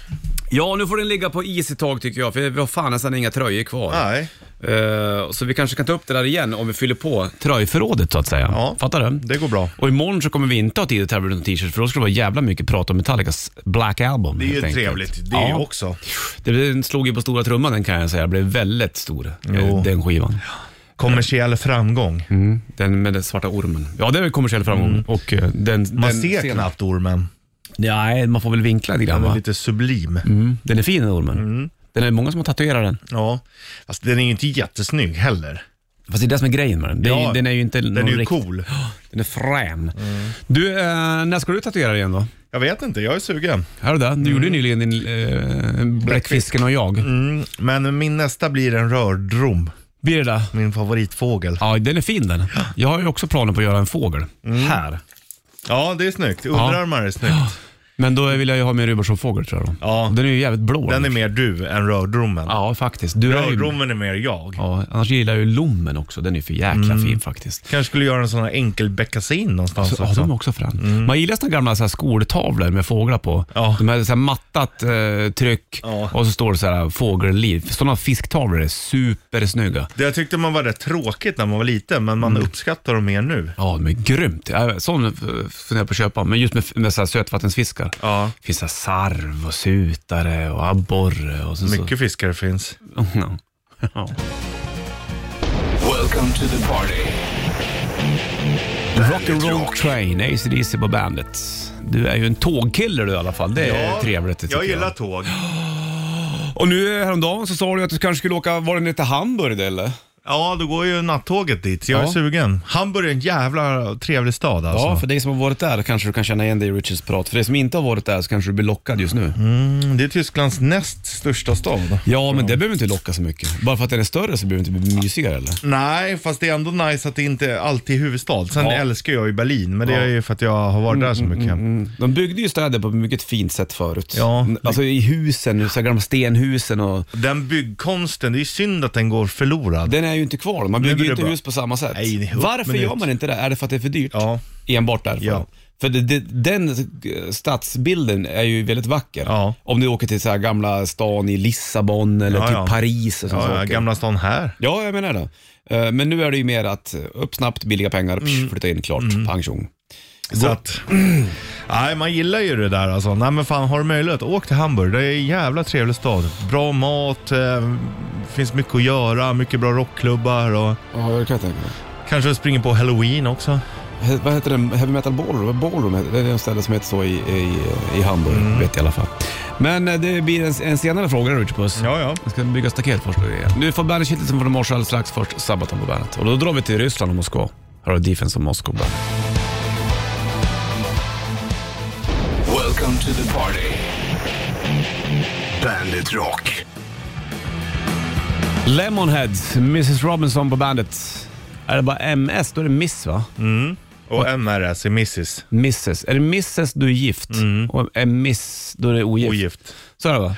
S2: Ja, nu får den ligga på is ett tag tycker jag, för vi har fan nästan inga tröjor kvar.
S3: Nej.
S2: Eh, så vi kanske kan ta upp det där igen om vi fyller på tröjförrådet så att säga.
S3: Ja.
S2: Fattar du?
S3: Det går bra.
S2: Och imorgon så kommer vi inte ha tid att tävla ut någon t-shirt för då ska det vara jävla mycket prat om Metallicas Black Album.
S3: Det är ju
S2: helt enkelt.
S3: trevligt. Det
S2: Ja.
S3: också.
S2: Det slog ju på stora trumman den kan jag säga. Det blev väldigt stor,
S3: Jo.
S2: eh, den skivan.
S3: Kommersiell framgång.
S2: Mm. Den med den svarta ormen. Ja, det är kommersiell framgång. Och eh, den,
S3: Mm. Man
S2: den
S3: ser
S2: scenen-
S3: knappt ormen.
S2: Nej, man får väl vinkla lite grann
S3: Den är
S2: va?
S3: lite Mm. sublim.
S2: Mm. Den är fin den ormen. Den är många som har tatuerat den.
S3: Ja. Fast den är ju inte jättesnygg heller.
S2: Fast det är det som är grejen med den. Den,
S3: Ja,
S2: den är ju inte
S3: Den
S2: någon
S3: är ju
S2: rikt-
S3: cool.
S2: Den är frän. Du, eh, när ska du tatuera igen då?
S3: Jag vet inte, jag är sugen.
S2: Här och där. Du gjorde ju nyligen din eh, Bläckfisken och jag.
S3: Mm. Men min nästa blir en rördrom.
S2: Birra.
S3: Min favoritfågel.
S2: Ja, den är fin den. Jag har ju också planer på att göra en fågel.
S3: Mm.
S2: Här.
S3: Ja, det är snyggt. Underarmar är snyggt.
S2: Men då vill jag ju ha min Rudolfsson-fågel tror jag då.
S3: Ja.
S2: Den är ju jävligt blå.
S3: Den är mer du än rördromen.
S2: Ja, faktiskt. Du är ju...
S3: Rördromen är mer jag.
S2: Ja, annars gillar jag ju lommen också. Den är ju för jäkla
S3: Mm.
S2: fin faktiskt.
S3: Kanske skulle göra en sån här enkelbeckasin någonstans
S2: Så, ja,
S3: också. Mm.
S2: de är också fram. Man gillar såna gamla så här, skoltavlor med fåglar på.
S3: Ja.
S2: De här, så här mattat eh, tryck
S3: Ja.
S2: och så står det så här fågelliv. Sådana fisktavlor är supersnygga.
S3: Det jag tyckte man var rätt tråkigt när man var liten, men man
S2: Mm.
S3: uppskattar dem mer nu.
S2: Ja, de är grymt. Ja, Sån eh, funderar jag på att köpa, men just med, med så här sötvattensfiskar.
S3: Ja.
S2: Det finns så här sarv och sutare och abborre. Och så,
S3: Mycket fiskar det finns.
S2: Så. Ja. Ja.
S1: Welcome to the party.
S2: Rock'n'roll Train, ACDC på bandet. Du är ju en tågkille du i alla fall. Det är trevligt. det tycker
S3: Jag gillar tåg.
S2: Och nu eh, häromdagen så sa du att du kanske skulle åka, var det ner till Hamburg eller?
S3: Ja, då går ju nattåget dit, så jag
S2: Ja.
S3: är sugen. Hamburg är en jävla trevlig stad alltså.
S2: Ja, för dig som har varit där kanske du kan känna igen dig i Richards prat. För dig som inte har varit där så kanske du blir lockad just nu.
S3: Mm, Det är Tysklands näst största stad.
S2: Ja, men det behöver inte locka så mycket. Bara för att den är större så behöver den inte bli mysigare eller?
S3: Nej, fast det är ändå nice att det inte alltid är huvudstad. Sen
S2: Ja.
S3: älskar jag ju Berlin, men det är ju för att jag har varit där så mycket.
S2: De byggde ju städer på ett mycket fint sätt förut.
S3: Ja.
S2: Alltså i husen, så här gamla stenhusen och...
S3: Den byggkonsten, det är ju synd att den går förlorad.
S2: Den är ju inte kvar. Man bygger
S3: blir
S2: ju
S3: det
S2: inte
S3: bra.
S2: hus på samma sätt.
S3: Nej, det är upp
S2: Varför
S3: minut.
S2: gör man inte det? Är det för att det är för dyrt?
S3: Ja.
S2: Enbart därför?
S3: Ja.
S2: För det, det, den eh, stadsbilden är ju väldigt vacker.
S3: Ja.
S2: Om du åker till så här gamla stan i Lissabon eller
S3: Ja,
S2: till
S3: ja.
S2: Paris och sånt
S3: Ja, ja, Gamla stan här.
S2: Ja, jag menar det. Eh, Men nu är det ju mer att eh, upp snabbt, billiga pengar,
S3: Mm.
S2: psh, flytta in, klart, pang tjong.
S3: Så att, nej, man gillar ju det där alltså. Nej men fan, har du möjlighet, åk till Hamburg. Det är en jävla trevlig stad. Bra mat, eh, finns mycket att göra, mycket bra rockklubbar och
S2: Ja, jag kan tänka mig.
S3: kanske springer på halloween också.
S2: He- Vad heter den? Heavy Metal Ballroom? Ballroom heter- det är en ställe som heter så i, i, i Hamburg, vet jag i alla fall. Men eh, det blir en, en senare fråga Richard Puss.
S3: Ja, ja.
S2: Jag ska bygga staket först. Nu får bandet kittet från morse alldeles strax. Först Sabaton på bandet. Och då drar vi till Ryssland och Moskva. Här har du Defense och Moskva.
S1: Welcome to the party. Bandit Rock.
S2: Lemonheads, Mrs Robinson på bandet. Är det bara MS, då är det Miss va?
S3: Och MRS är Mrs.
S2: Mrs. Är det Mrs du är gift och är Miss då är det Mm. ogift.
S3: Ogift.
S2: Så är det va?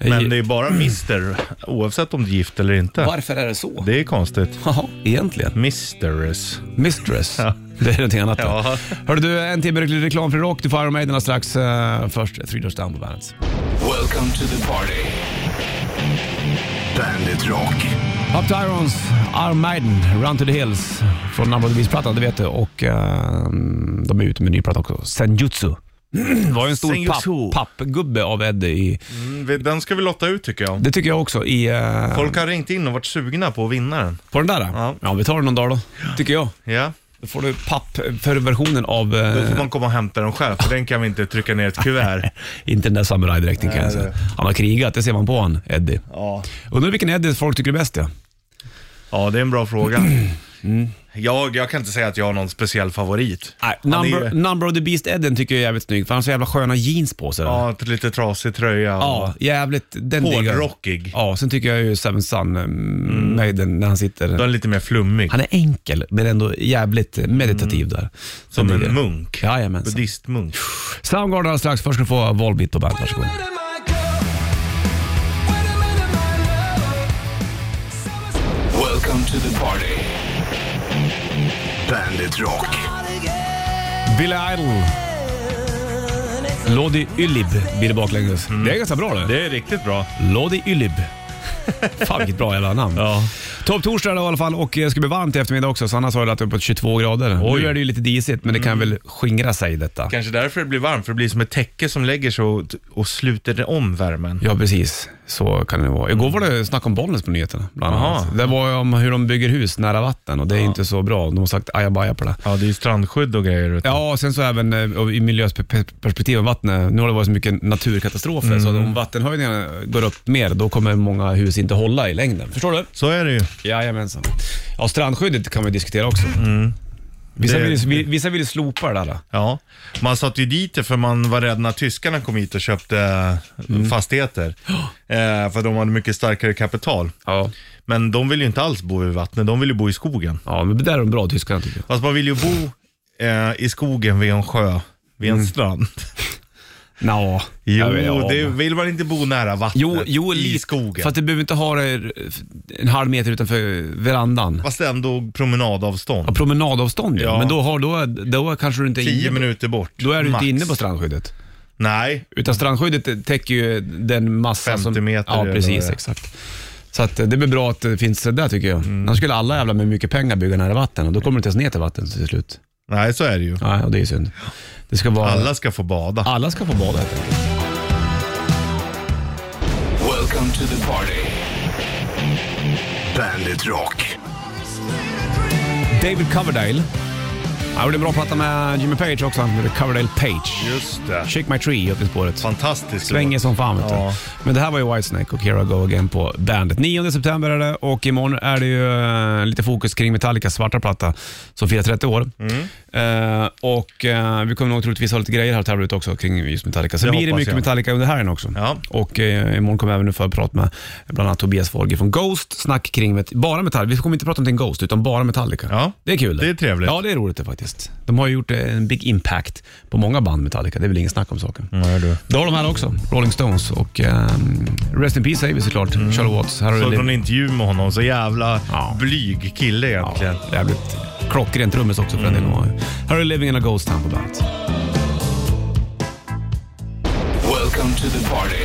S3: Men det är bara Mister, oavsett om du är gift eller inte.
S2: Varför är det så?
S3: Det är konstigt.
S2: Jaha, egentligen.
S3: Misteres.
S2: Mistress.
S3: Ja.
S2: Det är någonting annat. Ja.
S3: Ja.
S2: Hörru du, en timme reklam för rock. Du får Iron Maiden alldeles strax. Eh, först Three Doors Down på bandet.
S1: Welcome to the party. Bandit Rock.
S2: Up to Irons, Iron Maiden, Run to the Hills från Number of the Beast-plattan, det vet du. Och eh, de är ute med en ny platta också. Senjutsu. var ju en stor
S3: Senjutsu.
S2: papp, pappgubbe av Eddie i...
S3: Mm, Den ska vi lotta ut tycker jag.
S2: Det tycker jag också i... eh,
S3: Folk har ringt in och varit sugna på att vinna den.
S2: På den där? då?
S3: Ja.
S2: ja, vi tar den någon dag då, tycker jag.
S3: Ja.
S2: Då får du papp för versionen av... eh,
S3: Då får man komma och hämta den själv, för den kan vi inte trycka ner i ett kuvert.
S2: inte den där samurajdräkten kan jag säga. Han har krigat, det ser man på han, Eddie.
S3: Ja.
S2: Undrar vilken Eddie folk tycker är bäst ja.
S3: Ja, det är en bra fråga. Jag, jag kan inte säga att jag har någon speciell favorit.
S2: Mm. Nej,
S3: Han är
S2: number,
S3: ju-
S2: number of the beast Eddie tycker jag är jävligt snygg, för han har så jävla sköna jeans på sig.
S3: Ja, ett lite trasig tröja. och-
S2: Ja, jävligt. Den diggar jag.
S3: Hårdrockig. Mm.
S2: Ja, sen tycker jag ju Seven Sun, eh, Maiden, när han
S3: Då är
S2: sitter...
S3: den lite mer flummig.
S2: Han är enkel, men ändå jävligt meditativ där.
S3: Mm. Som
S2: Den
S3: en
S2: diggar jag.
S3: munk.
S2: Jajamensan.
S3: Buddhistmunk.
S2: Soundgarden alldeles strax. Först ska du få Volbeat på bandet. Varsågod.
S1: Welcome to the party. Bandit Rock.
S2: Billy Idol. Lodi Ylib blir det baklänges.
S3: Mm.
S2: Det är ganska bra det.
S3: Det är riktigt bra.
S2: Lodi Ylib. Fan vilket bra jävla namn. Ja. Topp torsdag då i alla fall och det ska bli varmt i eftermiddag också. Sanna sa ju att det är uppåt 22 grader.
S3: Oj.
S2: Nu är det ju lite disigt men det kan väl skingra sig detta.
S3: Kanske därför det blir varmt, för det blir som ett täcke som lägger sig och, och sluter om värmen.
S2: Ja precis, så kan det vara. Igår var det snack om Bollnäs på nyheterna bland annat.
S3: Jaha.
S2: Det var ju om hur de bygger hus nära vatten och det är inte så bra. De har sagt ajabaja på det.
S3: Ja, det är ju strandskydd och grejer. ute.
S2: Ja, och sen så även eh, och i miljöperspektiv om vattnet. Nu har det varit så mycket naturkatastrofer, så att om vattenhöjningarna går upp mer, då kommer många hus inte hålla i längden. Förstår du?
S3: Så är det ju.
S2: Jajamensan. Ja, strandskyddet kan vi diskutera också. Vissa,
S3: Mm. Det-
S2: vill, vi- vissa vill slopa det där. då.
S3: Ja, man satt ju dit det för man var rädd när tyskarna kom hit och
S2: Mm.
S3: köpte eh, fastigheter. Eh, för de hade mycket starkare kapital. Men de vill ju inte alls bo vid vattnet, de vill ju bo i skogen.
S2: Ja, men där är de bra tyskarna tycker jag.
S3: Fast man vill ju bo eh, i skogen vid en sjö, vid en strand.
S2: Nå, jag
S3: Jo,
S2: vet- Mm. ja,
S3: det
S2: men-
S3: vill man inte bo nära vattnet
S2: Jo, jo
S3: i
S2: lite,
S3: skogen.
S2: För att du behöver inte ha det en halv meter utanför verandan.
S3: Fast ändå promenadavstånd.
S2: Ja, promenadavstånd ja.
S3: Ja.
S2: Men då, har, då, då kanske du inte är
S3: Tio
S2: inne,
S3: minuter bort.
S2: Då är du
S3: max.
S2: inte inne på strandskyddet.
S3: Nej,
S2: Utan strandskyddet täcker ju den massa
S3: 50
S2: som...
S3: meter
S2: Ja,
S3: eller vad
S2: precis.
S3: det är.
S2: Exakt. Så att eh, det blir bra att det finns det där tycker jag.
S3: Mm.
S2: Annars skulle alla jävla med mycket pengar bygga nära vatten och då kommer det inte ens ner till vatten till slut.
S3: nej så är det ju.
S2: Nej, och det är ju synd. Det ska vara...
S3: Alla ska få bada.
S2: alla ska få bada.
S1: Welcome to the party. Bandit Rock.
S2: David Coverdale. Han gjorde en bra platta med Jimmy Page också. Han gjorde Coverdale Page.
S3: Just det.
S2: Shake My Tree upp i spåret.
S3: Fantastiskt.
S2: Svänger som fan vet du.
S3: Ja.
S2: Men det här var ju Whitesnake och Here I Go Again på bandet. 9 september är det och imorgon är det ju eh, lite fokus kring Metallicas svarta platta som firar 30 år.
S3: Mm.
S2: Eh, och eh, vi kommer nog troligtvis ha lite grejer här och tävla ut också kring just Metallica. Så
S3: Det
S2: blir det
S3: hoppas
S2: mycket
S3: jag.
S2: Metallica under helgen också.
S3: Ja.
S2: Och eh, imorgon kommer jag även att förprat med bland annat Tobias Forge från Ghost. Snack kring met- bara Metallica. Vi kommer inte prata om någonting Ghost utan bara Metallica.
S3: Ja.
S2: Det är kul.
S3: Det är trevligt.
S2: Ja, det är roligt det faktiskt. De har ju gjort eh, en big impact på många band Metallica. Det är väl ingen snack om saken.
S3: Nej, du.
S2: Då har de här också, Rolling Stones och ehm, Rest in Peace säger vi såklart,
S3: Mm.
S2: Charlie Watts. Här har
S3: Såg
S2: du
S3: någon
S2: Liv-
S3: intervju med honom, så jävla
S2: Ja.
S3: blyg kille egentligen.
S2: ja, jävligt klockren trummis också för den delen.
S3: Mm.
S2: Här har du Living in a Ghost Town på bandet.
S1: Welcome to the party.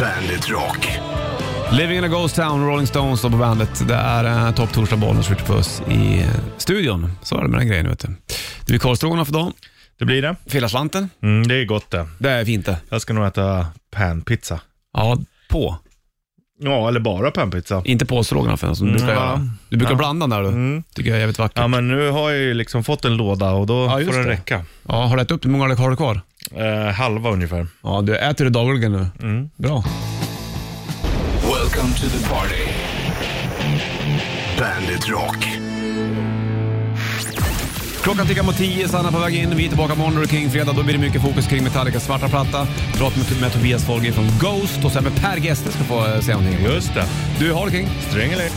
S1: Bandit Rock.
S2: Living in a Ghost Town, Rolling Stones då på bandet. Det är eh, topp torsdag, Bollnäs Ritchie Puss i eh, studion. Så är det med den grejen vet du. Det blir korvstroganoff för dagen.
S3: Det blir det.
S2: Fila slanten.
S3: Mm, det är gott det.
S2: Det är fint det.
S3: Jag ska nog äta panpizza.
S2: Ja, på.
S3: Ja, eller bara panpizza.
S2: Inte på stroganoffen som du brukar
S3: Mm,
S2: göra.
S3: ja. Mm.
S2: Du brukar blanda den där du. Tycker jag är jävligt vackert.
S3: Ja,
S2: Ja,
S3: men nu har jag ju liksom fått en låda och då
S2: Ja, just
S3: får den
S2: det.
S3: räcka.
S2: har du ätit upp? Hur många har du kvar?
S3: Eh, halva ungefär.
S2: Ja, du äter det dagligen nu. Mm. Bra.
S1: Welcome to the party. Bandit Rock.
S2: Klockan tickar mot 10, Sanna på väg in. Vi är tillbaka imorgon och King fredag. Då blir det mycket fokus kring Metallicas svarta platta. Prat med, med Tobias Folger från Ghost och sen med Per Gessle ska få eh, säga någonting.
S3: Just det.
S2: Du, har det King.
S3: Strängelek.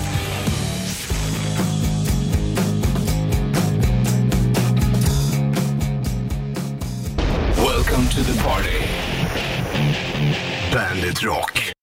S1: Welcome to the party. Bandit Rock.